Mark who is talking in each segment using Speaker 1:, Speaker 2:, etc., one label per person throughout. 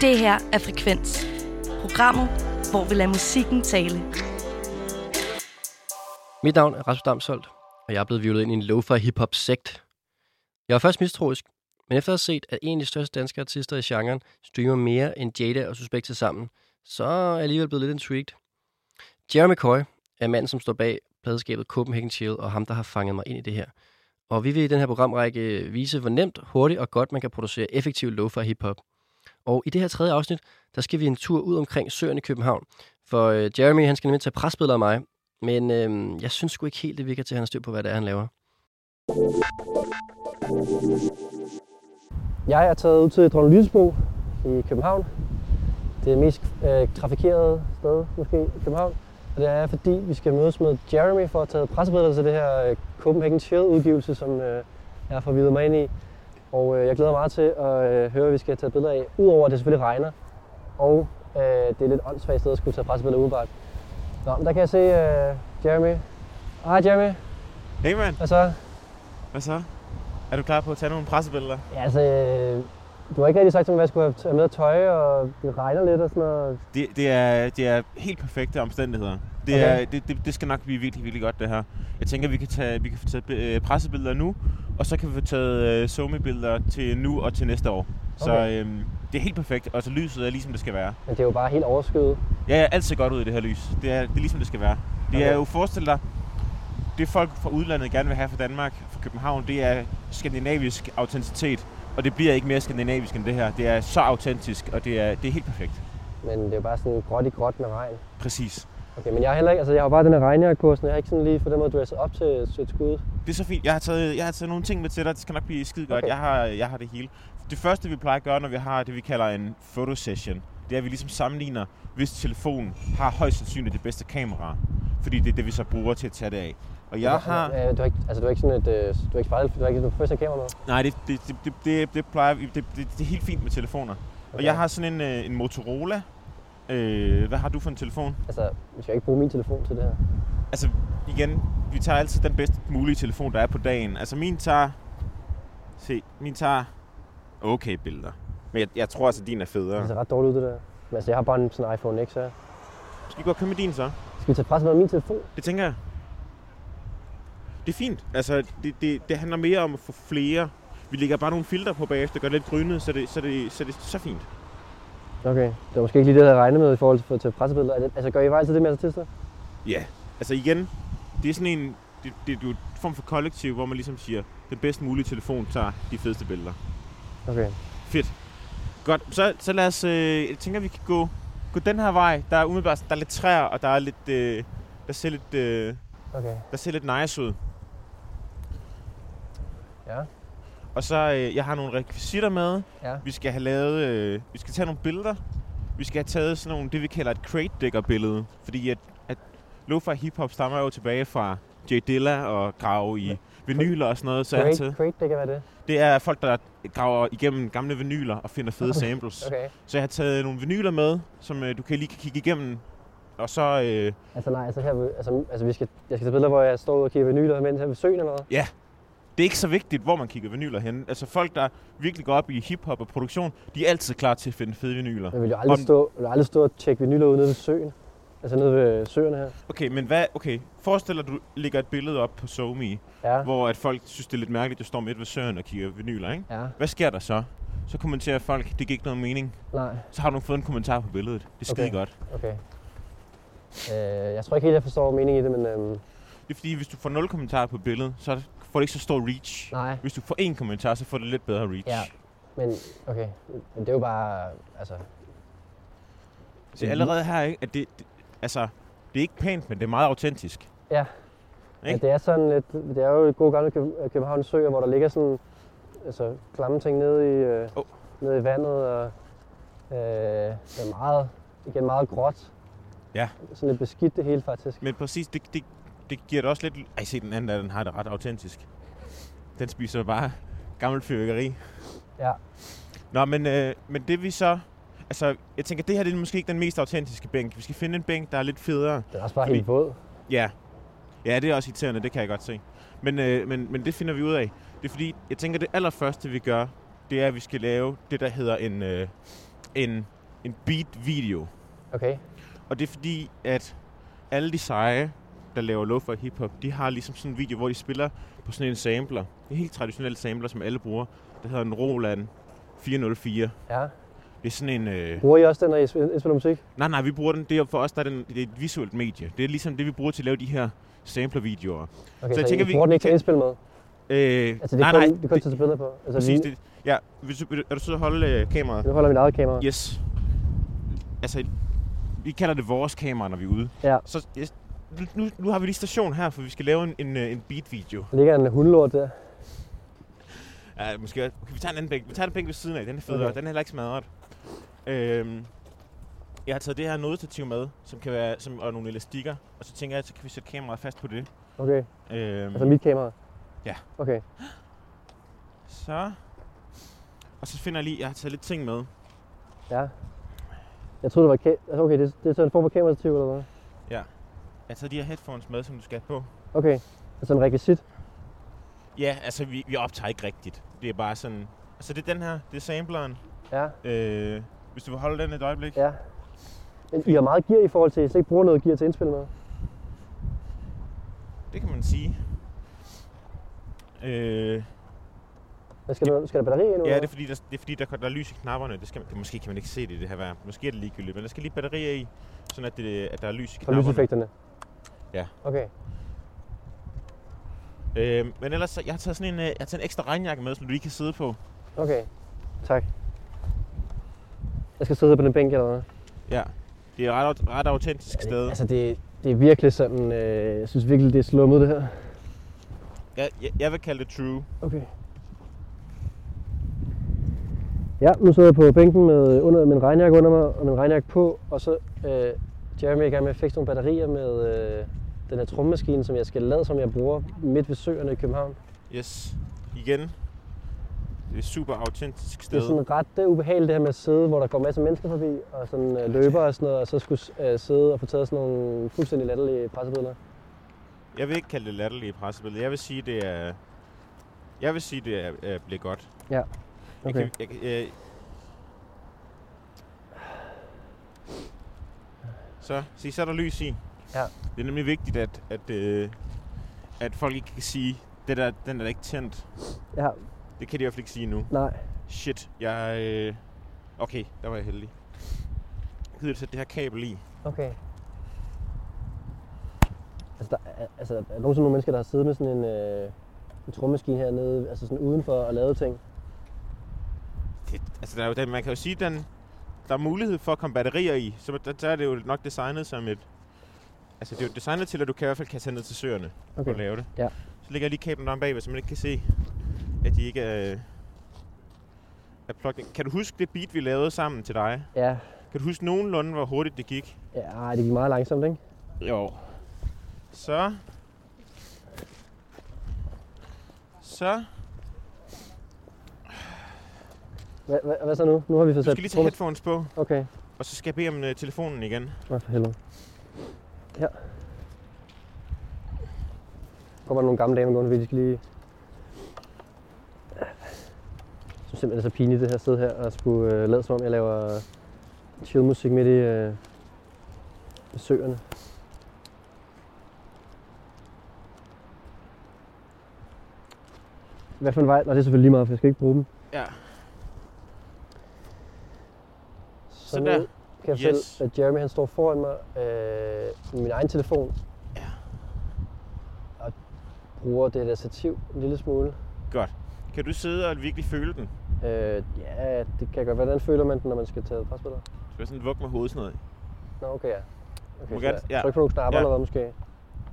Speaker 1: Det her er Frekvens. Programmet, hvor vi lader musikken tale.
Speaker 2: Mit navn er Rasmus Damsholdt, og jeg er blevet violet ind i en loafer hip-hop sekt. Jeg var først mistroisk, men efter at have set, at en af de største danske artister i genren streamer mere end Jada og Suspekt til sammen, så er jeg alligevel blevet lidt intrigued. Jeremy Coy er manden, som står bag pladeskabet Copenhagen Chill, og ham, der har fanget mig ind i det her. Og vi vil i den her programrække vise, hvor nemt, hurtigt og godt man kan producere effektiv loafer og hiphop. Og i det her tredje afsnit, der skal vi en tur ud omkring søerne i København. For øh, Jeremy, han skal nemlig tage presbilleder af mig, men øh, jeg synes sgu ikke helt, det virker til, at han har styr på, hvad det er, han laver. Jeg er taget ud til Dronning Lyttesbo i København. Det mest øh, trafikerede sted måske i København. Og det er, fordi vi skal mødes med Jeremy for at tage pressebilleder til det her øh, Copenhagen Chill udgivelse, som øh, jeg har forvidet mig ind i. Og øh, jeg glæder mig meget til at øh, høre, hvad vi skal tage billeder af. Udover at det selvfølgelig regner, og øh, det er lidt åndssvagt sted at skulle tage pressebilleder udebart. Nå, men der kan jeg se øh, Jeremy. Hej Jeremy,
Speaker 3: Hey man,
Speaker 2: hvad så?
Speaker 3: hvad så? Er du klar på at tage nogle pressebilleder?
Speaker 2: Ja, altså, øh, du har ikke rigtig sagt til mig, hvad jeg skulle have t- have med af tøj, og det regner lidt og sådan noget.
Speaker 3: Det, det, er, det er helt perfekte omstændigheder. Det,
Speaker 2: Okay.
Speaker 3: okay. er, det, det, det skal nok blive virkelig, virkelig godt det her. Jeg tænker, vi kan, tage, vi kan få taget øh, pressebilleder nu, og så kan vi få taget øh, somi-billeder til nu og til næste år. Så
Speaker 2: Okay.
Speaker 3: øh, det er helt perfekt, og så lyset er ligesom det skal være.
Speaker 2: Men det er jo bare helt overskyet.
Speaker 3: Ja, ja, alt ser godt ud i det her lys. Det er, det er ligesom det skal være. Det
Speaker 2: Okay.
Speaker 3: er jo, forestil dig, det folk fra udlandet gerne vil have fra Danmark, fra København, det er skandinavisk autenticitet. Og det bliver ikke mere skandinavisk end det her. Det er så autentisk, og det er, det er helt perfekt.
Speaker 2: Men det er jo bare sådan gråt i gråt med regn.
Speaker 3: Præcis.
Speaker 2: Okay, men jeg har heller ikke, altså jeg har jo bare den her regnjakke sådan, jeg har ikke sådan lige på den måde dresset op til til et skud.
Speaker 3: Det er så fint. Jeg har taget, jeg har taget nogle ting med til dig. Det skal nok blive skide godt.
Speaker 2: Okay.
Speaker 3: Okay. Jeg, har, jeg har det hele. Det første, vi plejer at gøre, når vi har det, vi kalder en fotosession, det er, at vi ligesom sammenligner, hvis telefonen har højst sandsynligt det bedste kamera. Fordi det er det, vi så bruger til at tage det af. Og jeg har...
Speaker 2: Øh, du har ikke, altså du har ikke sådan et, øh, du har ikke spejlet, du har ikke sådan et første kamera med.
Speaker 3: Nej, det, det, det, det, det, det plejer vi- det, det, det er helt fint med telefoner. Okay.
Speaker 2: Okay.
Speaker 3: Og jeg har sådan en, øh, en Motorola. Øh, hvad har du for en telefon?
Speaker 2: Altså, jeg skal ikke bruge min telefon til det her.
Speaker 3: Altså, igen, vi tager altid den bedst mulige telefon, der er på dagen. Altså, min tager... Se, min tager okay billeder. Men jeg, jeg tror altså, din
Speaker 2: Ja.
Speaker 3: er
Speaker 2: Det
Speaker 3: federe.
Speaker 2: ser ret dårligt ud, det der. Men altså, jeg har bare en sådan iPhone X her.
Speaker 3: Skal vi gå og købe med din så?
Speaker 2: Skal vi tage pres med min telefon?
Speaker 3: Det tænker jeg. Det er fint. Altså, det, det, det handler mere om at få flere. Vi lægger bare nogle filter på bagefter, gør det lidt grynet, så det, så det, så det så fint.
Speaker 2: Okay. Det var måske ikke lige det, jeg havde regnet med i forhold til, til pressebilleder. Er det- Altså, gør I vej til det med artister?
Speaker 3: Ja, altså igen, det er sådan en, det, det er jo en form for kollektiv, hvor man ligesom siger, den bedst mulige telefon tager de fedeste billeder.
Speaker 2: Okay.
Speaker 3: Fedt. Godt, så, så lad os, øh, jeg tænker, vi kan gå, gå den her vej. Der er umiddelbart, der er lidt træer, og der er lidt, øh, der ser lidt, øh,
Speaker 2: Okay.
Speaker 3: der ser lidt nice ud.
Speaker 2: Ja.
Speaker 3: Og så, øh, jeg har nogle rekvisitter med.
Speaker 2: Ja.
Speaker 3: Vi skal have lavet, øh, vi skal tage nogle billeder. Vi skal have taget sådan nogle, det vi kalder et crate digger billede. Fordi at, at lo-fi hiphop stammer jo tilbage fra J. Dilla og grave i vinyler og sådan noget. Så jeg har
Speaker 2: Crate,
Speaker 3: taget.
Speaker 2: crate, det kan være det.
Speaker 3: Det er folk, der graver igennem gamle vinyler og finder fede samples.
Speaker 2: Okay.
Speaker 3: Så jeg har taget nogle vinyler med, som øh, du kan lige kan kigge igennem. Og så, øh,
Speaker 2: Altså nej, altså her, ved- altså, altså vi skal, jeg skal tage billeder, hvor jeg står ude og kigger vinyler, mens jeg ved søen eller noget.
Speaker 3: det er ikke så vigtigt, hvor man kigger vinyler hen. Altså folk, der virkelig går op i hiphop og produktion, de er altid klar til at finde fede vinyler.
Speaker 2: Jeg vil jo aldrig,
Speaker 3: Om-
Speaker 2: stå, jeg vil aldrig stå og tjekke vinyler ude nede ved søen. Altså nede ved søerne her.
Speaker 3: Okay, men hvad, okay, forestil dig, at du lægger et billede op på SoMe,
Speaker 2: Ja.
Speaker 3: hvor at folk synes, det er lidt mærkeligt, at du står midt ved søen og kigger vinyler, ikke?
Speaker 2: Ja,
Speaker 3: Hvad sker der så? Så kommenterer folk, det giver ikke nogen mening.
Speaker 2: nej,
Speaker 3: Så har du fået en kommentar på billedet. Det er
Speaker 2: Okay.
Speaker 3: skide godt.
Speaker 2: okay. Øh, jeg tror ikke helt, jeg forstår meningen i det, men øhm,
Speaker 3: Det er fordi, hvis du får nul kommentarer på billedet, så får det ikke så stor reach.
Speaker 2: nej.
Speaker 3: Hvis du får én kommentar, så får det lidt bedre reach.
Speaker 2: Ja. Men okay, men det er jo bare, altså,
Speaker 3: Det er allerede her, ikke? At det, det, altså, det er ikke pænt, men det er meget autentisk.
Speaker 2: ja.
Speaker 3: Ikke?
Speaker 2: Men det er sådan lidt, det er jo et god gammel Køb- øh, Københavns søer, hvor der ligger sådan, altså, klamme ting nede i, øh,
Speaker 3: Åh.
Speaker 2: oh. nede i vandet, og øh, det er meget, igen meget gråt.
Speaker 3: Ja.
Speaker 2: Sådan lidt beskidt det hele faktisk.
Speaker 3: Men præcis, det, det, det giver det også lidt... Ej, se den anden der, den har det ret autentisk. Den spiser bare gammel fyrværkeri.
Speaker 2: Ja.
Speaker 3: Nå, men, øh, men det vi så... Altså, jeg tænker, det her det er måske ikke den mest autentiske bænk. Vi skal finde en bænk, der er lidt federe.
Speaker 2: Den er også bare
Speaker 3: Fordi-
Speaker 2: helt våd.
Speaker 3: Ja. Ja, det er også irriterende, det kan jeg godt se. Men, øh, men, men det finder vi ud af. Det er fordi, jeg tænker, det allerførste, vi gør, det er, at vi skal lave det, der hedder en, øh, en, en beat-video.
Speaker 2: Okay.
Speaker 3: Og det er fordi, at alle de seje, der laver lo for hiphop, de har ligesom sådan en video, hvor de spiller på sådan en sampler. En helt traditionel sampler, som alle bruger. Der hedder en Roland 404.
Speaker 2: Ja.
Speaker 3: Det er sådan en... Øh,
Speaker 2: Bruger I også den, når I sp- indspiller musik?
Speaker 3: Nej, nej, vi bruger den. Det er for os, der er den, det er et visuelt medie. Det er ligesom det, vi bruger til at lave de her sampler-videoer.
Speaker 4: Okay,
Speaker 3: Så
Speaker 4: så,
Speaker 3: jeg
Speaker 4: så
Speaker 3: tænker,
Speaker 4: tænker,
Speaker 3: vi-
Speaker 4: I bruger den ikke til
Speaker 3: vi-
Speaker 4: at indspille med?
Speaker 3: Øh,
Speaker 4: Altså, det
Speaker 3: nej,
Speaker 4: er kun,
Speaker 3: nej,
Speaker 4: det er kun til at tage billeder på. Altså,
Speaker 3: præcis
Speaker 4: vi,
Speaker 3: det. Ja, vil du, vil du- er du sød at holde øh, kameraet?
Speaker 4: nu holder mit eget kamera.
Speaker 3: Yes. Altså, vi kalder det vores kamera, når vi er ude.
Speaker 4: Ja.
Speaker 3: Så yes, nu- nu, nu har vi lige station her, for vi skal lave en, en, øh, en beat-video.
Speaker 4: Der ligger en hundelort der.
Speaker 3: Ja, måske også- okay, vi tager en anden bænk. Vi tager den bænk ved siden af. Den er federe. Okay.
Speaker 4: Okay.
Speaker 3: Den er heller ikke smadret. Øhm, jeg har taget det her nodestativ med, som kan være, som, og nogle elastikker. Og så tænker jeg, så kan vi sætte kameraet fast på det.
Speaker 4: Okay,
Speaker 3: Øhm,
Speaker 4: altså mit kamera.
Speaker 3: Ja.
Speaker 4: Okay,
Speaker 3: Så. Og så finder jeg lige, jeg har taget lidt ting med.
Speaker 4: ja. Jeg troede, det var ka- altså, okay, det, det er sådan en form for kamerativ eller hvad?
Speaker 3: Jeg har taget de her headphones med, som du skal have på.
Speaker 4: Okay, altså en rekvisit.
Speaker 3: Ja, altså vi, vi optager ikke rigtigt. Det er bare sådan... Altså det er den her, det er sampleren.
Speaker 4: Ja,
Speaker 3: Øh, hvis du vil holde den et øjeblik.
Speaker 4: ja. Men I har meget gear i forhold til, at I slet ikke bruger noget gear til at indspille med.
Speaker 3: Det kan man sige. Øh,
Speaker 4: Hvad skal, der, skal der batteri endnu?
Speaker 3: ja, det er fordi, der, det er fordi der, der er lys i knapperne. Det skal man, det, måske kan man ikke se det i det her vejr. Måske er det ligegyldigt, men der skal lige batterier i, sådan at, det, at der er lys i
Speaker 4: Og
Speaker 3: knapperne.
Speaker 4: lyseffekterne?
Speaker 3: Ja.
Speaker 4: Okay,
Speaker 3: Øh, men ellers, så, jeg har taget sådan en, øh, jeg har taget en ekstra regnjakke med, som du lige kan sidde på.
Speaker 4: okay. Tak. Jeg skal sidde på den bænk eller hvad?
Speaker 3: Ja. Det er et ret, ret autentisk sted.
Speaker 4: Altså, det, det er virkelig sådan, øh, jeg synes virkelig, det er slummet det her.
Speaker 3: Jeg, jeg, jeg vil kalde det true.
Speaker 4: Okay. Ja, nu sidder jeg på bænken med, øh, under, med en regnjakke under mig og min regnjakke på, og så øh, Jeremy er i gang med at fikse nogle batterier med øh, den her trommemaskine, som jeg skal lade, som jeg bruger midt ved søerne i København.
Speaker 3: Yes. Igen. Det er et super autentisk
Speaker 4: Det
Speaker 3: sted.
Speaker 4: er sådan ret øh, ubehageligt det her med at sidde, hvor der går masser af mennesker forbi, og sådan øh, løber og sådan noget, og så skulle øh, sidde og få taget sådan nogle fuldstændig latterlige pressebilleder.
Speaker 3: Jeg vil ikke kalde det latterlige pressebillede. Jeg vil sige, det er... Jeg vil sige, det er, er bliver godt. Jeg
Speaker 4: Okay.
Speaker 3: kan, jeg, kan- øh. jeg, så, se, så er der lys i.
Speaker 4: Ja.
Speaker 3: Det er nemlig vigtigt, at, at, øh, at folk ikke kan sige, det der, den er da ikke tændt.
Speaker 4: Ja,
Speaker 3: Det kan de i hvert fald ikke sige nu.
Speaker 4: nej.
Speaker 3: Shit, jeg... Øh, okay, der var jeg heldig. Jeg gider at sætte det her kabel i.
Speaker 4: Okay. Altså, der er, altså, er der nogensinde nogle mennesker, der har siddet med sådan en, øh, en trommemaskine hernede, altså sådan udenfor og lavet ting?
Speaker 3: det, altså der er jo den, man kan jo sige, den, der er mulighed for at komme batterier i, så der, der er det jo nok designet som et... Altså det er jo designet til, at du kan i hvert fald kan tage ned til søerne okay. og lave det.
Speaker 4: Ja.
Speaker 3: Så lægger jeg lige kablen om bagved, så man ikke kan se, at de ikke er, øh, er plugged in. Kan du huske det beat, vi lavede sammen til dig?
Speaker 4: Ja,
Speaker 3: Kan du huske nogenlunde, hvor hurtigt det gik?
Speaker 4: ja ej, det gik meget langsomt, ikke?
Speaker 3: Jo. Så. Så.
Speaker 4: Hva, hva, hvad så nu? Nu har vi
Speaker 3: Du
Speaker 4: fået
Speaker 3: skal lige tage
Speaker 4: trommes-
Speaker 3: headphones på,
Speaker 4: Okay,
Speaker 3: og så skal jeg bede om øh, telefonen igen.
Speaker 4: Nå, for helvede. Her. Kommer der nogle gamle damer gående, fordi de skal lige... Jeg synes simpelthen, det er så pinligt, det her sted her, og skulle øh, lade som om, jeg laver chillmusik midt i øh, søerne. Hvad for en vej? Nej, det er selvfølgelig lige meget, for jeg skal ikke bruge dem.
Speaker 3: Ja.
Speaker 4: Så,
Speaker 3: Så der.
Speaker 4: nu kan jeg
Speaker 3: Yes.
Speaker 4: yes. at Jeremy han står foran mig øh, med min egen telefon.
Speaker 3: Ja.
Speaker 4: Og bruger det der stativ en lille smule.
Speaker 3: Kan du sidde og virkelig føle den?
Speaker 4: Øh, ja, det kan jeg godt. Hvordan føler man den, når man skal tage presbilleder?
Speaker 3: Du skal sådan vugge med hovedet sådan noget.
Speaker 4: Nå, okay, ja. Okay,
Speaker 3: Må
Speaker 4: så
Speaker 3: gerne-
Speaker 4: ja.
Speaker 3: ja.
Speaker 4: Tryk på nogle knapper
Speaker 3: Ja.
Speaker 4: ja. eller hvad måske?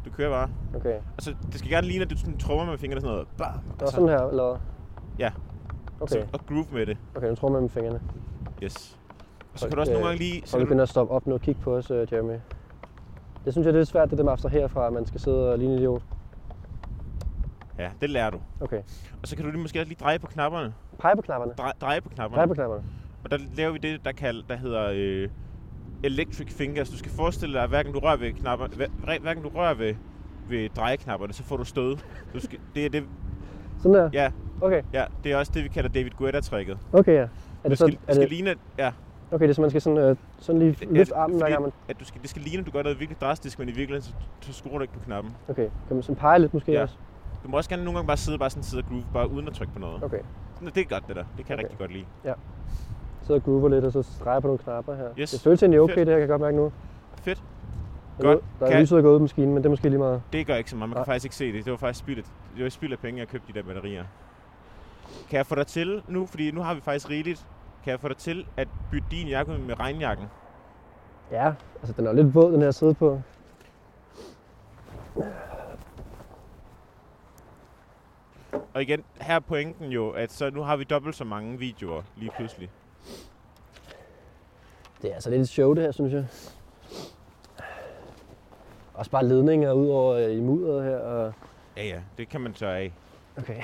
Speaker 3: Du kører bare.
Speaker 4: Okay.
Speaker 3: Altså, det skal gerne ligne, at du sådan trummer med fingrene og sådan noget. Bah,
Speaker 4: Det var sådan her, eller hvad?
Speaker 3: Altså- Ja.
Speaker 4: Okay,
Speaker 3: Og groove med det.
Speaker 4: okay, nu tror man med fingrene.
Speaker 3: Yes. Og så
Speaker 4: Folk,
Speaker 3: kan du også nogle
Speaker 4: øh,
Speaker 3: gange lige... Så
Speaker 4: Og vi
Speaker 3: kan du,
Speaker 4: begynder at stoppe op nu og kigge på os, øh, Jeremy. Det synes jeg, det er lidt svært, det der med at abstrahere fra, at man skal sidde og ligne en idiot.
Speaker 3: ja, det lærer du.
Speaker 4: Okay.
Speaker 3: Og så kan du lige måske også lige dreje på knapperne.
Speaker 4: Pege på knapperne.
Speaker 3: Drej, dreje på knapperne.
Speaker 4: Pege på knapperne.
Speaker 3: Og der laver vi det, der, kald, der hedder øh, electric fingers. Du skal forestille dig, at hverken du rører ved, knapper, hver, hverken du rører ved, ved drejeknapperne, så får du stød. Du skal, det er det,
Speaker 4: Sådan der?
Speaker 3: ja,
Speaker 4: Okay,
Speaker 3: ja, det er også det, vi kalder David Guetta-tricket.
Speaker 4: okay ja. Er
Speaker 3: Du
Speaker 4: det så,
Speaker 3: skal,
Speaker 4: er
Speaker 3: skal
Speaker 4: det,
Speaker 3: ligne, at- ja,
Speaker 4: Okay, det er så, man skal sådan, øh, sådan lige
Speaker 3: Ja,
Speaker 4: løfte armen, hver
Speaker 3: fordi-
Speaker 4: gang man...
Speaker 3: At du skal, det skal ligne, at du gør noget virkelig drastisk, men i virkeligheden, så, så skruer du ikke på knappen.
Speaker 4: Okay, kan man sådan pege lidt måske
Speaker 3: Ja.
Speaker 4: også?
Speaker 3: Du må også gerne nogle gange bare sidde, bare sådan sidde og groove, bare uden at trykke på noget.
Speaker 4: Okay,
Speaker 3: Nå, det er godt, det der. Det kan jeg
Speaker 4: Okay.
Speaker 3: rigtig godt lide.
Speaker 4: så og groover lidt, og så streger på nogle knapper her.
Speaker 3: Yes.
Speaker 4: Det føles egentlig okay,
Speaker 3: Fedt.
Speaker 4: det her kan jeg godt mærke nu.
Speaker 3: Fedt.
Speaker 4: Jeg
Speaker 3: Godt.
Speaker 4: Ved, der er
Speaker 3: Kan-
Speaker 4: lyset er gået ud af maskinen, men det er måske lige meget.
Speaker 3: Det gør ikke så meget. Man kan
Speaker 4: Nej.
Speaker 3: faktisk ikke se det. Det var faktisk spild af, det var spild af penge, at købe de der batterier. Kan jeg få dig til nu, fordi nu har vi faktisk rigeligt, kan jeg få dig til at bytte din jakke ud med regnjakken?
Speaker 4: Ja, altså den er jo lidt våd, den her side på.
Speaker 3: Og igen, her er pointen jo, at så nu har vi dobbelt så mange videoer lige pludselig.
Speaker 4: Det er altså lidt et show, det her, synes jeg. Også bare ledninger ud over øh, i mudderet her. Og...
Speaker 3: Ja, ja, det kan man tørre af.
Speaker 4: Okay.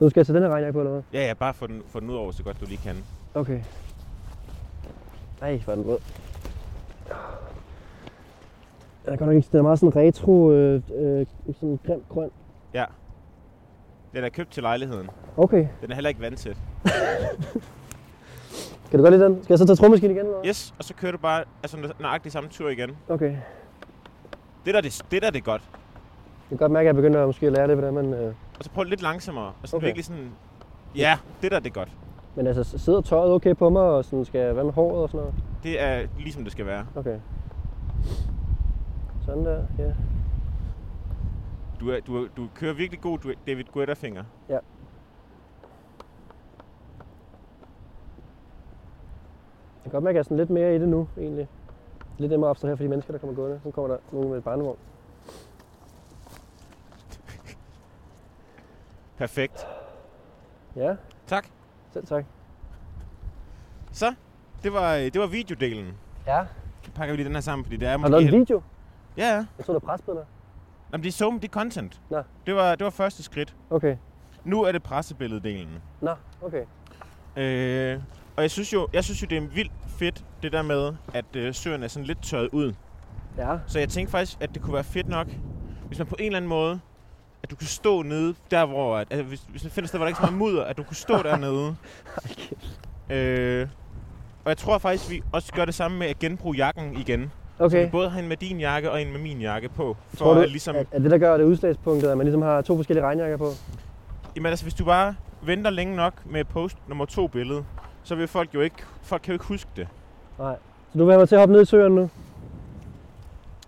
Speaker 4: Nu skal jeg tage den her regnjakke på, eller hvad?
Speaker 3: Ja, ja, bare få den, få den ud over, så godt du lige kan.
Speaker 4: Okay. Nej, hvor er den rød. Den er godt nok ikke, den er meget sådan retro, øh, øh, sådan grim grøn.
Speaker 3: Den er købt til lejligheden.
Speaker 4: Okay,
Speaker 3: Den er heller ikke vandsæt.
Speaker 4: kan du godt lide den? Skal jeg så tage trommeskeen igen? Eller? hvad?
Speaker 3: Yes, og så kører du bare altså, nø- nøjagtig samme tur igen.
Speaker 4: Okay.
Speaker 3: Det der, det, det der er det godt.
Speaker 4: Jeg kan godt mærke, at jeg begynder at måske at lære det, hvordan man... Øh...
Speaker 3: Og så prøv lidt langsommere. Og sådan
Speaker 4: Okay.
Speaker 3: okay. virkelig sådan, ja, det der det er godt.
Speaker 4: Men altså, s- sidder tøjet okay på mig, og sådan skal jeg være med håret og sådan noget?
Speaker 3: Det er ligesom det skal være.
Speaker 4: Okay. Sådan der, ja.
Speaker 3: Du, er, du, er, du kører virkelig god du- David Guetta-finger.
Speaker 4: Ja. Jeg kan godt mærke, at jeg er sådan lidt mere i det nu, egentlig. Lidt nemmere at abstrahere for de mennesker, der kommer gående. Nu kommer der nogen med et barnevogn.
Speaker 3: Perfekt.
Speaker 4: Ja,
Speaker 3: Tak.
Speaker 4: selv tak.
Speaker 3: Så, det var, det var videodelen.
Speaker 4: Ja.
Speaker 3: Så pakker vi lige den her sammen, fordi det er
Speaker 4: Har du lavet en
Speaker 3: helt-
Speaker 4: video?
Speaker 3: Ja, ja.
Speaker 4: Jeg tror, der er presbilleder.
Speaker 3: Jamen, det er zoom, det er content.
Speaker 4: Nå.
Speaker 3: Det var, det var første skridt.
Speaker 4: Okay.
Speaker 3: Nu er det pressebilleddelen.
Speaker 4: Nå, okay.
Speaker 3: Øh, og jeg synes jo, jeg synes jo, det er vildt fedt, det der med, at øh, søen er sådan lidt tørret ud.
Speaker 4: Ja,
Speaker 3: Så jeg tænkte faktisk, at det kunne være fedt nok, hvis man på en eller anden måde, at du kunne stå nede der, hvor... At, altså, hvis, hvis man finder et sted, hvor der ikke er så meget mudder, at du kunne stå dernede. øh, og jeg tror faktisk, vi også gør det samme med at genbruge jakken igen. Så
Speaker 4: okay.
Speaker 3: vi både har en med din jakke og en med min jakke på. For
Speaker 4: Tror du,
Speaker 3: at ligesom...
Speaker 4: at, at det, der gør det udslagspunktet, at man ligesom har to forskellige regnjakker på?
Speaker 3: Jamen altså, hvis du bare venter længe nok med post nummer to billede, så vil folk jo ikke... Folk kan jo ikke huske det.
Speaker 4: Nej. Så du vil have mig til at hoppe ned i søerne nu?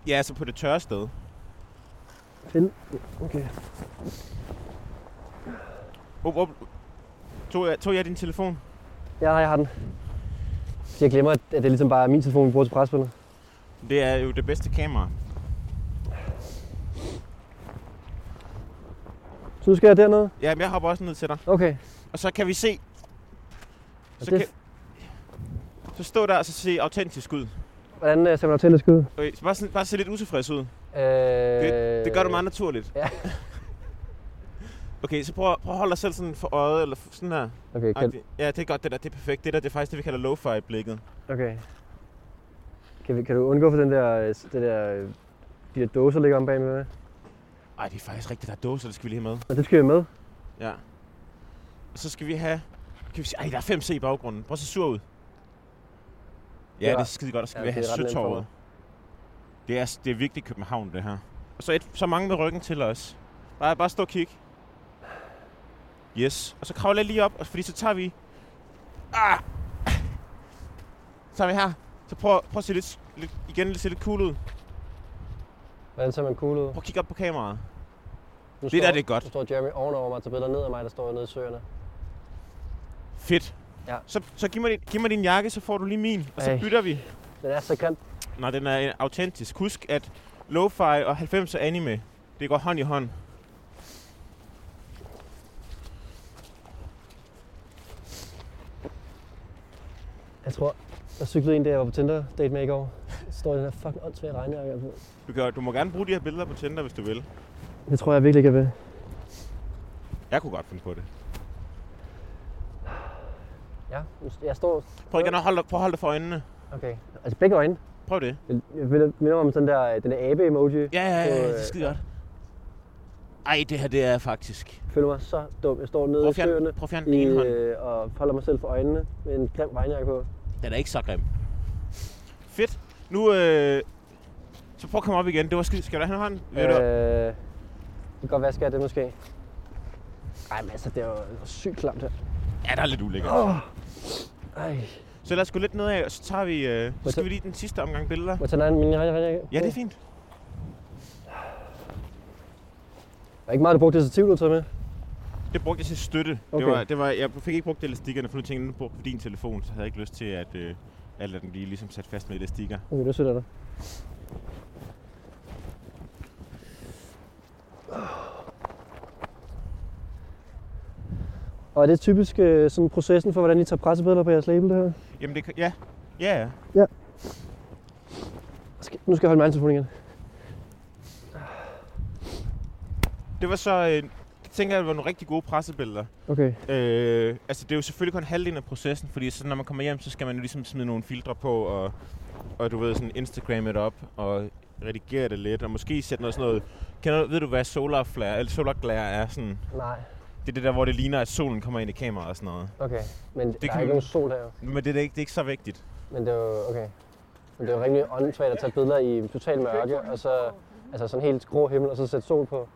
Speaker 3: Ja, altså på det tørre sted.
Speaker 4: Find. Okay.
Speaker 3: Op, op. Tog, jeg, tog jeg din telefon?
Speaker 4: Ja, jeg har den. Så jeg glemmer, at det er ligesom bare min telefon, vi bruger til presbilleder.
Speaker 3: Det er jo det bedste kamera.
Speaker 4: Så nu skal jeg dernede?
Speaker 3: Jamen, jeg hopper også ned til dig.
Speaker 4: Okay.
Speaker 3: Og så kan vi se...
Speaker 4: Og
Speaker 3: Så,
Speaker 4: det-
Speaker 3: kan, så stå der og så se autentisk ud.
Speaker 4: Hvordan øh, ser man til at skyde?
Speaker 3: Okay, så bare, sådan, bare se lidt utilfreds ud.
Speaker 4: Øh,
Speaker 3: Det, det gør du meget naturligt.
Speaker 4: ja.
Speaker 3: Okay, så prøv, at- prøv at holde dig selv sådan for øjet, eller f- sådan her.
Speaker 4: Okay,
Speaker 3: Ej,
Speaker 4: kan,
Speaker 3: det- Ja, det er godt det der, det er perfekt. Det der, det er faktisk det, vi kalder lo-fi-blikket.
Speaker 4: okay. Kan, vi, kan du undgå for den der, øh, det der, øh, de der dåser, der ligger om bag med?
Speaker 3: Ej, det er faktisk rigtigt, der er dåser, det skal vi lige have med.
Speaker 4: Og det skal vi med.
Speaker 3: Ja. Og så skal vi have... Kan vi se, ej, der er 5C i baggrunden. Prøv at se sur ud. Ja,
Speaker 4: Det
Speaker 3: det
Speaker 4: var-
Speaker 3: er skide godt. Så skal
Speaker 4: ja,
Speaker 3: ja, vi have
Speaker 4: det er ret nemt for
Speaker 3: søtorvet.
Speaker 4: mig.
Speaker 3: Det er, det er virkelig København, det her. Og så, et, så mange med ryggen til os. Bare, bare stå og kig. Yes. Og så kravler jeg lige op, og- fordi så tager vi... Ah! Så tager vi her. Så prøv, prøv at se lidt, lidt, igen, lidt, se lidt cool ud.
Speaker 4: Hvordan ser man cool ud?
Speaker 3: Prøv at kigge op på kameraet.
Speaker 4: Nu
Speaker 3: der, det er godt.
Speaker 4: Nu står Jeremy ovenover mig og tager billeder ned af mig, der står nede i søerne.
Speaker 3: Fedt.
Speaker 4: Ja.
Speaker 3: Så, så giv, mig din, giv mig din jakke, så får du lige min. Og så
Speaker 4: Ej.
Speaker 3: bytter vi.
Speaker 4: Den er så grim.
Speaker 3: Nej, den er autentisk. Husk, at lo-fi og 90'er anime, det går hånd i hånd.
Speaker 4: Jeg tror, jeg cyklede en, da jeg var på Tinder date med i går. Så står i den her fucking åndssvage regnjakke på.
Speaker 3: Du, kan, du må gerne bruge de her billeder på Tinder, hvis du vil.
Speaker 4: Det tror jeg virkelig ikke, jeg vil.
Speaker 3: Jeg kunne godt finde på det.
Speaker 4: Ja, jeg står...
Speaker 3: Prøv igen at holde, prøv at holde dig for øjnene.
Speaker 4: Okay. Altså begge øjne.
Speaker 3: Prøv det.
Speaker 4: Jeg jeg minder minder mig om sådan der, øh, den der abe-emoji.
Speaker 3: Ja, ja, ja, ja det er
Speaker 4: Øh,
Speaker 3: skide godt. Ej, det her, det er faktisk.
Speaker 4: Jeg føler mig så dum. Jeg står nede
Speaker 3: Prøv
Speaker 4: i
Speaker 3: at fjerne,
Speaker 4: søerne
Speaker 3: prøv at fjerne den
Speaker 4: i,
Speaker 3: ene hånd.
Speaker 4: øh, og holder mig selv for øjnene med en grim regnjakke på.
Speaker 5: Den er ikke så grim.
Speaker 3: Fedt. Nu, øh, så prøv at komme op igen. Det var skide. Skal du have en hånd? Ved du?
Speaker 4: Øh, det kan godt være, skal jeg det måske. Ej, men altså, det er jo det er jo sygt klamt her.
Speaker 3: Ja, der er lidt ulækkert.
Speaker 4: Ej,
Speaker 3: Så lad os gå lidt nedad, og så tager vi... Øh, så
Speaker 4: tage-
Speaker 3: skal vi lige den sidste omgang billeder.
Speaker 4: må jeg tage en anden mini regnejakke?
Speaker 3: Ja, det er fint.
Speaker 4: Der er ikke meget, du brugte det stativ, du tager med.
Speaker 3: Det brugte jeg til støtte. Okay.
Speaker 4: Okay.
Speaker 3: Det var, det var, jeg fik ikke brugt elastikkerne, for nu tænkte jeg, nu brugte jeg din telefon, så havde jeg ikke lyst til at, øh, at lade den blive ligesom sat fast med elastikker.
Speaker 4: Okay, det er sødt af dig. Og er det typisk øh, sådan processen for, hvordan I tager pressebilleder på jeres label, det her?
Speaker 3: Jamen det kan... Ja. Ja, ja.
Speaker 4: Skal- Nu skal jeg holde min telefon igen.
Speaker 3: Det var så... Øh, det tænker jeg var nogle rigtig gode pressebilleder.
Speaker 4: Okay.
Speaker 3: Øh, altså det er jo selvfølgelig kun halvdelen af processen, fordi så når man kommer hjem, så skal man jo ligesom smide nogle filtre på, og, og du ved, sådan Instagram det op, og redigere det lidt, og måske sætte noget sådan noget... Kender, du- ved du, hvad solar flare, eller solar glare er sådan?
Speaker 4: Nej,
Speaker 3: Det er det der, hvor det ligner, at solen kommer ind i kameraet og sådan noget.
Speaker 4: okay. Men det der
Speaker 3: kan
Speaker 4: er
Speaker 3: man-
Speaker 4: ikke nogen sol her. jo.
Speaker 3: Men det er, da ikke, det er ikke så vigtigt.
Speaker 4: Men det er jo, okay. Men det er jo rimelig åndssvagt at tage billeder i total mørke, og så altså sådan helt grå himmel, og så sætte sol på.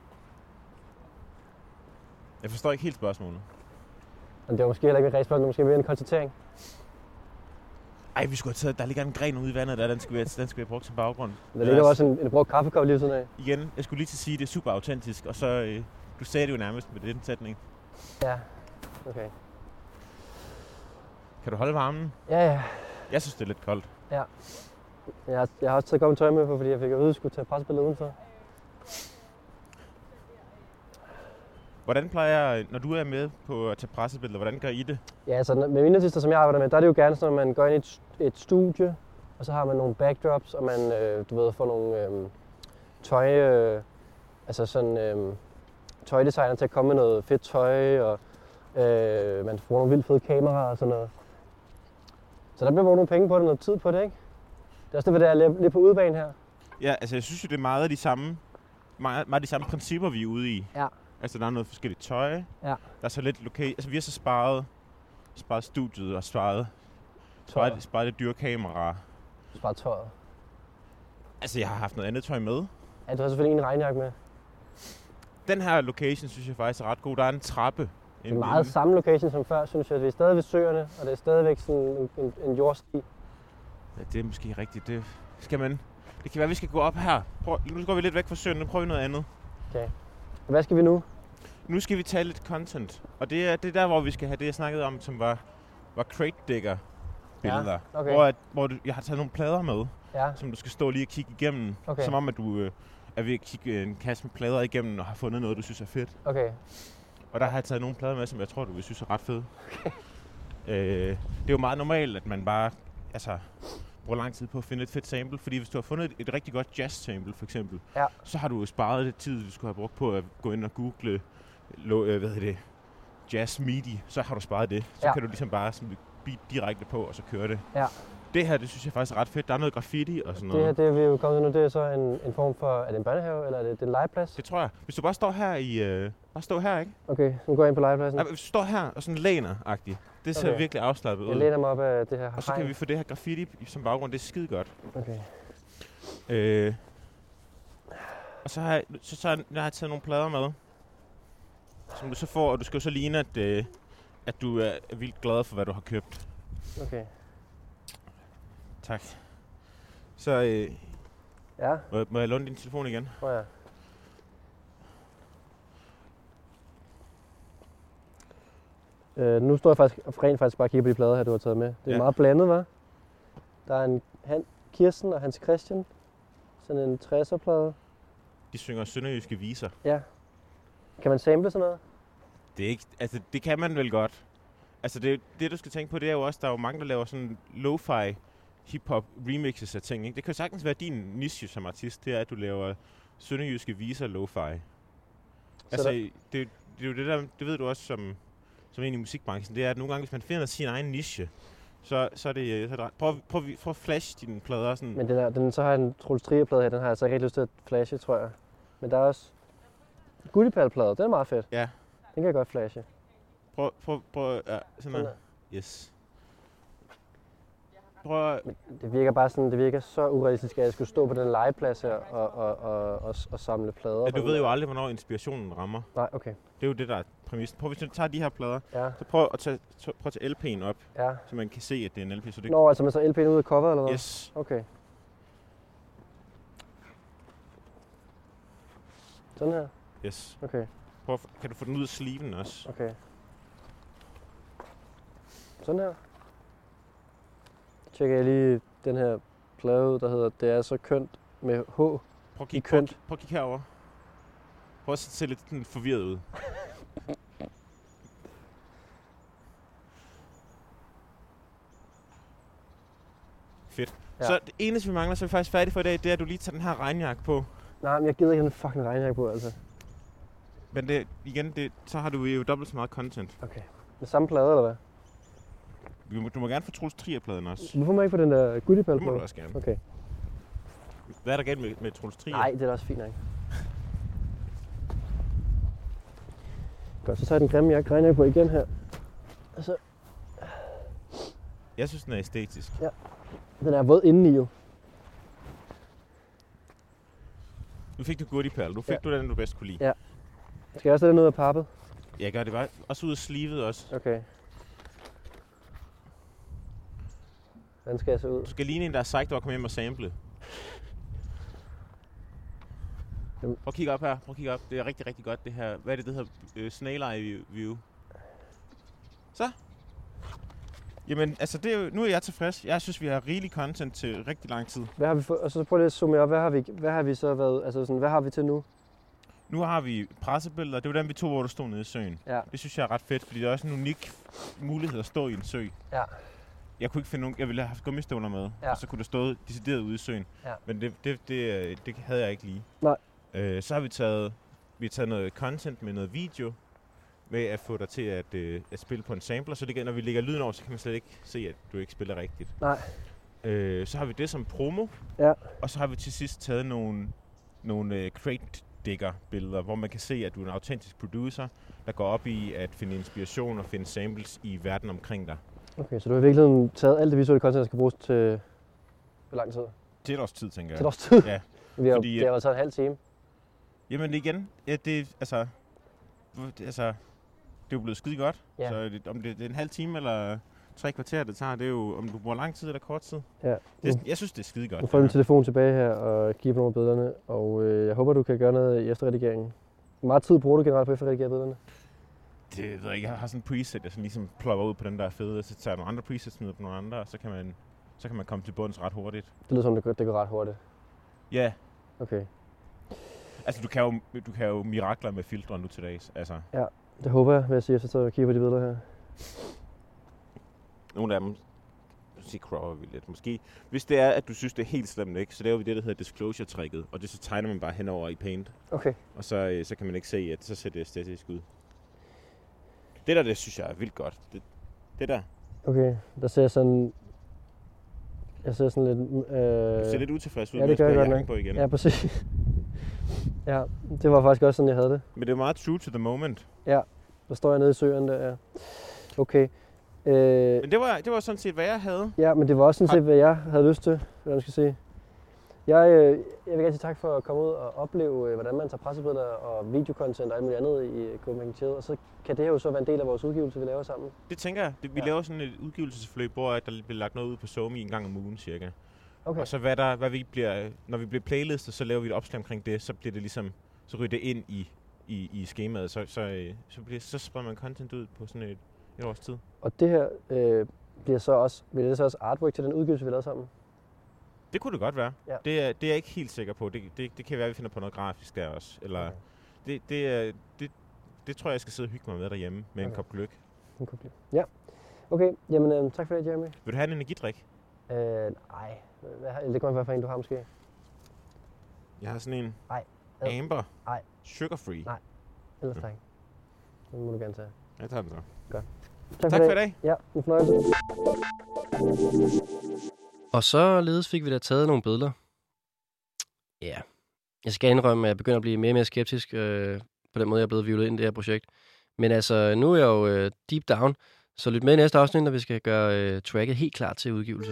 Speaker 3: Jeg forstår ikke helt spørgsmålet.
Speaker 4: Men det var måske heller ikke et rigtig spørgsmål, det var måske mere en konstatering.
Speaker 3: Ej, vi skulle have taget, der ligger en gren ude i vandet, der, den skulle vi have, den skulle vi have brugt som baggrund.
Speaker 4: Der ligger jo også en, en brugt kaffekop lige ved siden af.
Speaker 3: Igen, jeg skulle lige til at sige, at det er super autentisk, og så, øh, du sagde det jo nærmest med den sætning.
Speaker 4: Ja, okay.
Speaker 3: Kan du holde varmen?
Speaker 4: Ja, ja.
Speaker 3: Jeg synes, det er lidt koldt.
Speaker 4: Jeg har, jeg har også taget godt med tøj med, på, fordi jeg fik at vide, at jeg skulle tage presbilledet udenfor.
Speaker 3: Hvordan plejer, når du er med på at tage pressebilleder, hvordan gør I det?
Speaker 4: Ja, altså med mine artister, som jeg arbejder med, der er det jo gerne sådan, at man går ind i et, et studie, og så har man nogle backdrops, og man, øh, du ved, får nogle øh, tøj, øh, altså sådan øh, tøjdesigner til at komme med noget fedt tøj, og øh, man bruger nogle vildt fede kameraer og sådan noget. Så der bliver brugt nogle penge på det, noget tid på det, ikke? Det er også det, der er lidt lidt på udebane her.
Speaker 3: Ja, altså jeg synes jo, det er meget af de samme, meget, meget de samme principper, vi er ude i.
Speaker 4: Ja.
Speaker 3: Altså der er noget forskelligt tøj. Ja. Der er så lidt lokal... Altså vi har så sparet, sparet studiet og sparet, sparet,
Speaker 4: Tøjet.
Speaker 3: sparet det dyre kamera.
Speaker 4: Bare tøjet.
Speaker 3: Altså jeg har haft noget andet tøj med.
Speaker 4: Ja, du har selvfølgelig en regnjakke med.
Speaker 3: Den her location synes jeg faktisk er ret god. Der er en trappe.
Speaker 4: Det er meget samme location som før, synes jeg. Vi er stadig ved søerne, og det er stadigvæk sådan en, en, en jordsti.
Speaker 3: Ja, det er måske rigtigt. Det skal man... Det kan være, vi skal gå op her. Prøv, nu går vi lidt væk fra søen. Nu prøver vi noget andet.
Speaker 4: Hvad skal vi nu?
Speaker 3: Nu skal vi tage lidt content. Og det er, det er der, hvor vi skal have det, jeg snakkede om, som var, var crate digger billeder. Ja,
Speaker 4: okay.
Speaker 3: Hvor, at, hvor du, jeg har taget nogle plader med,
Speaker 4: Ja,
Speaker 3: som du skal stå lige og kigge igennem.
Speaker 4: Okay.
Speaker 3: Som om, at du øh, er ved at kigge øh, en kasse med plader igennem og har fundet noget, du synes er fedt.
Speaker 4: okay.
Speaker 3: Og der har jeg taget nogle plader med, som jeg tror, du vil synes er ret fede. Okay. Øh, det er jo meget normalt, at man bare altså, bruger lang tid på at finde et fedt sample. Fordi hvis du har fundet et, et rigtig godt jazz-sample, for eksempel,
Speaker 4: Ja.
Speaker 3: så har du jo sparet det tid, du skulle have brugt på at gå ind og google lo, øh, hvad hedder det, jazz midi. Så har du sparet det. Så
Speaker 4: Ja.
Speaker 3: kan du ligesom bare sådan beat direkte på, og så køre det.
Speaker 4: Ja.
Speaker 3: Det her, det synes jeg faktisk er ret fedt. Der er noget graffiti og sådan
Speaker 4: Det
Speaker 3: noget.
Speaker 4: her, det vi er jo kommet til nu, det er så en, en form for, er det en børnehave, eller er det, det er en legeplads?
Speaker 3: det tror jeg. Hvis du bare står her i... Øh, bare stå her, ikke?
Speaker 4: Okay, nu går jeg ind på legepladsen.
Speaker 3: Nej, hvis du står her og sådan læner-agtigt. Det ser
Speaker 4: Okay.
Speaker 3: virkelig afslappet ud.
Speaker 4: Jeg læner mig op af det her
Speaker 3: Og så kan
Speaker 4: hegn.
Speaker 3: vi få det her graffiti som baggrund. Det er skide godt.
Speaker 4: Okay.
Speaker 3: Øh. Og så har, jeg, så, så har jeg taget nogle plader med, som du så får, og du skal jo så ligne, at, øh, at du er vildt glad for, hvad du har købt.
Speaker 4: Okay.
Speaker 3: Tak. Så øh,
Speaker 4: Ja,
Speaker 3: må, jeg- må jeg låne din telefon igen?
Speaker 4: tror jeg. Øh, nu står jeg faktisk og rent faktisk bare og kigger på de plader her, du har taget med. Det er
Speaker 3: Ja.
Speaker 4: ja. meget blandet, hva'? Der er en han, Kirsten og Hans Christian. Sådan en 60'er-plade.
Speaker 3: De synger sønderjyske viser.
Speaker 4: Kan man sample sådan noget?
Speaker 3: Det, er ikke, altså, det kan man vel godt. Altså det, det, du skal tænke på, det er jo også, der er jo mange, der laver sådan lo-fi hip-hop remixes af ting. Ikke? Det kan jo sagtens være din niche som artist, det er, at du laver sønderjyske viser lo-fi. Altså,
Speaker 4: der-
Speaker 3: det, det, er jo det der, det ved du også som, som en i musikbranchen, det er, at nogle gange, hvis man finder sin egen niche, så, så er det... øh, Så er det ret- prøv, prøv, prøv at flash dine plader sådan.
Speaker 4: Men den, er, den så har jeg en Troels Trier-plade her, den har jeg altså ikke rigtig lyst til at flashe, tror jeg. Men der er også Gudipal-plade, den er meget fedt.
Speaker 3: Ja.
Speaker 4: Den kan jeg godt flashe.
Speaker 3: øh, Prøv, prøv, prøv, ja, sådan
Speaker 4: Sådan
Speaker 3: her.
Speaker 4: der.
Speaker 3: Yes. Prøv at,
Speaker 4: Det virker bare sådan, det virker så urealistisk, at jeg skulle stå på den legeplads her og, og, og, og, og samle plader.
Speaker 3: at du
Speaker 4: fra-
Speaker 3: ved jo aldrig, hvornår inspirationen rammer.
Speaker 4: Nej, okay.
Speaker 3: Det er jo det, der er præmissen. Prøv, hvis du tager de her plader,
Speaker 4: Ja,
Speaker 3: så prøv at tage, t- prøv at tage LP'en op,
Speaker 4: ja.
Speaker 3: så man kan se, at det er en LP. Så det,
Speaker 4: Nå, altså med så LP'en ud af coveret, eller hvad?
Speaker 3: yes.
Speaker 4: Okay. Sådan her?
Speaker 3: yes.
Speaker 4: Okay,
Speaker 3: Prøv, at- kan du få den ud af sliven også?
Speaker 4: okay. Sådan her. Så tjekker jeg lige den her plade ud, der hedder Det er så kønt med H.
Speaker 3: Prøv at kigge, prøv,
Speaker 4: I
Speaker 3: at
Speaker 4: kønt.
Speaker 3: kigge- prøv at kigge herover. Prøv at se lidt sådan forvirret ud. Fedt.
Speaker 4: Ja.
Speaker 3: Ja. Så det eneste, vi mangler, så er vi faktisk færdige for i dag, det er, at du lige tager den her regnjakke på.
Speaker 4: Nej, men jeg gider ikke have den fucking regnjakke på, altså.
Speaker 3: Men det, igen, det, så har du jo dobbelt så meget content.
Speaker 4: Okay. Med samme plade, eller hvad?
Speaker 3: Du må, du må gerne få Troels Trier-pladen også.
Speaker 4: Hvorfor må jeg ikke få den der goodieball
Speaker 3: Det
Speaker 4: på?
Speaker 3: må du også gerne.
Speaker 4: Okay.
Speaker 3: Hvad er der galt med, med Troels Trier?
Speaker 4: Nej, det er da også fint nok. Godt, så tager jeg den grimme jakke regnjakke på igen her.
Speaker 3: Jeg synes, den er æstetisk.
Speaker 4: Den er våd indeni jo.
Speaker 3: Nu fik du goodie perl. Nu fik
Speaker 4: Ja.
Speaker 3: ja. du den, du bedst kunne lide.
Speaker 4: Ja. Skal jeg også have den ud af pappet?
Speaker 3: Jeg gør det bare. Også ud af slivet også.
Speaker 4: Okay. Hvordan skal jeg se ud?
Speaker 3: Du skal ligne en, der er sagt, der var kommet hjem og sample. Prøv
Speaker 4: Jamen.
Speaker 3: at kigge op her. Prøv at kigge op. Det er rigtig, rigtig godt, det her. Hvad er det, det hedder? Øh, Snail Eye View- View. Så. Jamen, altså, det er jo, nu er jeg tilfreds. Jeg synes, vi har rigelig content til rigtig lang tid.
Speaker 4: Hvad har vi fået? Og så prøv lige at zoome op. Hvad har vi, hvad har vi så været? Altså sådan, hvad har vi til nu?
Speaker 3: Nu har vi pressebilleder. Det var den, vi tog, hvor du stod nede i søen.
Speaker 4: Ja.
Speaker 3: Det synes jeg er ret fedt, fordi det er også en unik mulighed at stå i en sø.
Speaker 4: Ja.
Speaker 3: Jeg kunne ikke finde nogen... Jeg ville have haft gummistøvler med,
Speaker 4: Ja.
Speaker 3: ja. og så kunne du stå decideret ude i søen.
Speaker 4: Ja.
Speaker 3: Men det, det, det, øh, det havde jeg ikke lige.
Speaker 4: Nej.
Speaker 3: Øh, så har vi taget, vi har taget noget content med noget video, med at få dig til at, øh, at spille på en sampler, så det, kan- når vi lægger lyden over, så kan man slet ikke se, at du ikke spiller rigtigt.
Speaker 4: Nej.
Speaker 3: Øh, så har vi det som promo,
Speaker 4: Ja.
Speaker 3: og så har vi til sidst taget nogle, nogle øh, crate digger billeder, hvor man kan se, at du er en autentisk producer, der går op i at finde inspiration og finde samples i verden omkring dig.
Speaker 4: Okay, så du har i virkeligheden taget alt det visuelle content, der skal bruges til... Hvor lang tid? Ja.
Speaker 3: Det er et års tid, tænker jeg.
Speaker 4: Til et års tid?
Speaker 3: Ja.
Speaker 4: Vi har,
Speaker 3: Fordi,
Speaker 4: det har været taget en halv time.
Speaker 3: Jamen igen, ja, det, altså, hvor- det- altså, det er jo blevet skide godt.
Speaker 4: Ja.
Speaker 3: Ja. Så det, om det, det er en halv time eller tre kvarter, det tager, det er jo, om du bruger lang tid eller kort tid.
Speaker 4: Ja.
Speaker 3: Det, jeg synes, det er skide godt.
Speaker 4: Nu får du din telefon tilbage her og kigger på nogle af billederne, og øh, jeg håber, du kan gøre noget i efterredigeringen. Hvor meget tid bruger du generelt på at efterredigere billederne?
Speaker 3: det ved jeg ikke, jeg har sådan en preset, jeg sådan ligesom plopper ud på den, der er fede, og så tager jeg nogle andre presets, smider på nogle andre, og så kan man, så kan man komme til bunds ret hurtigt.
Speaker 4: Det lyder som, det går, det går ret hurtigt.
Speaker 3: Ja,
Speaker 4: Okay.
Speaker 3: altså du kan jo, du kan jo mirakler med filtre nu til dags. Altså,
Speaker 4: Det håber jeg, vil jeg sige, efter at kigge på de billeder her.
Speaker 3: nogle af dem, så cropper vi lidt måske. Hvis det er, at du synes, det er helt slemt, ikke, så laver vi det, der hedder disclosure-tricket, og det så tegner man bare henover i paint.
Speaker 4: Okay.
Speaker 3: Og så, øh, så kan man ikke se, at så ser det æstetisk ud. Det der, det synes jeg er vildt godt. Det, det der.
Speaker 4: Okay, der ser jeg sådan... Jeg ser sådan lidt... Øh,
Speaker 3: Du ser lidt utilfreds ud,
Speaker 4: ja,
Speaker 3: ja,
Speaker 4: det
Speaker 3: det
Speaker 4: gør jeg
Speaker 3: med
Speaker 4: godt
Speaker 3: at
Speaker 4: nok.
Speaker 3: på igen.
Speaker 4: Ja, præcis. ja, det var faktisk også sådan, jeg havde det.
Speaker 3: Men det er meget true to the moment.
Speaker 4: Der står jeg nede i søen der, ja. Okay. Øh,
Speaker 3: Men det var, det var sådan set, hvad jeg havde.
Speaker 4: ja, men det var også sådan
Speaker 3: Har-
Speaker 4: set, hvad jeg havde lyst til, hvad man skal sige. Jeg, øh, jeg vil gerne sige tak for at komme ud og opleve, øh, hvordan man tager pressebilleder og videocontent og alt muligt andet i øh, Copenhagen Chill. Og så kan det her jo så være en del af vores udgivelse, vi laver sammen.
Speaker 3: Det tænker jeg. Det, vi
Speaker 4: Ja.
Speaker 3: ja. laver sådan et udgivelsesforløb, hvor at der bliver lagt noget ud på Somi en gang om ugen cirka.
Speaker 4: Okay.
Speaker 3: Og så hvad, der, hvad vi bliver, når vi bliver playlistet, så laver vi et opslag omkring det, så bliver det ligesom, så ryger det ind i, i, i skemaet, så, så, øh, så, bliver, så spreder man content ud på sådan et, et års tid.
Speaker 4: Og det her øh, bliver så også, bliver det så også artwork til den udgivelse, vi lavede sammen.
Speaker 3: Det kunne det godt være.
Speaker 4: Ja.
Speaker 3: Ja. Det, er, det er jeg ikke helt sikker på. Det, det, det kan være, at vi finder på noget grafisk der også. Eller
Speaker 4: Okay.
Speaker 3: okay. det, det, er- det, det tror jeg, jeg skal sidde og hygge mig med derhjemme med okay.
Speaker 4: Okay.
Speaker 3: en kop gløk.
Speaker 4: Hun kunne blive. Ja. Okay, jamen øh, tak for det, Jeremy.
Speaker 3: Vil du have en energidrik?
Speaker 4: Øh, nej, Hvad, har- eller det kommer være for en, du har måske.
Speaker 3: Jeg har sådan en
Speaker 4: Nej. Ad.
Speaker 3: Amber
Speaker 4: Nej.
Speaker 3: Sugar Free.
Speaker 4: Nej. Ellers tak. Den må du gerne tage.
Speaker 3: Jeg tager den så.
Speaker 4: Tak,
Speaker 3: Tak for i dag.
Speaker 4: Ja, en fornøjelse.
Speaker 2: Og således fik vi da taget nogle billeder. Ja. Jeg skal indrømme, at jeg begynder at blive mere og mere skeptisk øh, på den måde, jeg er blevet vivlet ind i det her projekt. Men altså, nu er jeg jo øh, deep down, så lyt med i næste afsnit, når vi skal gøre øh, tracket helt klar til udgivelse.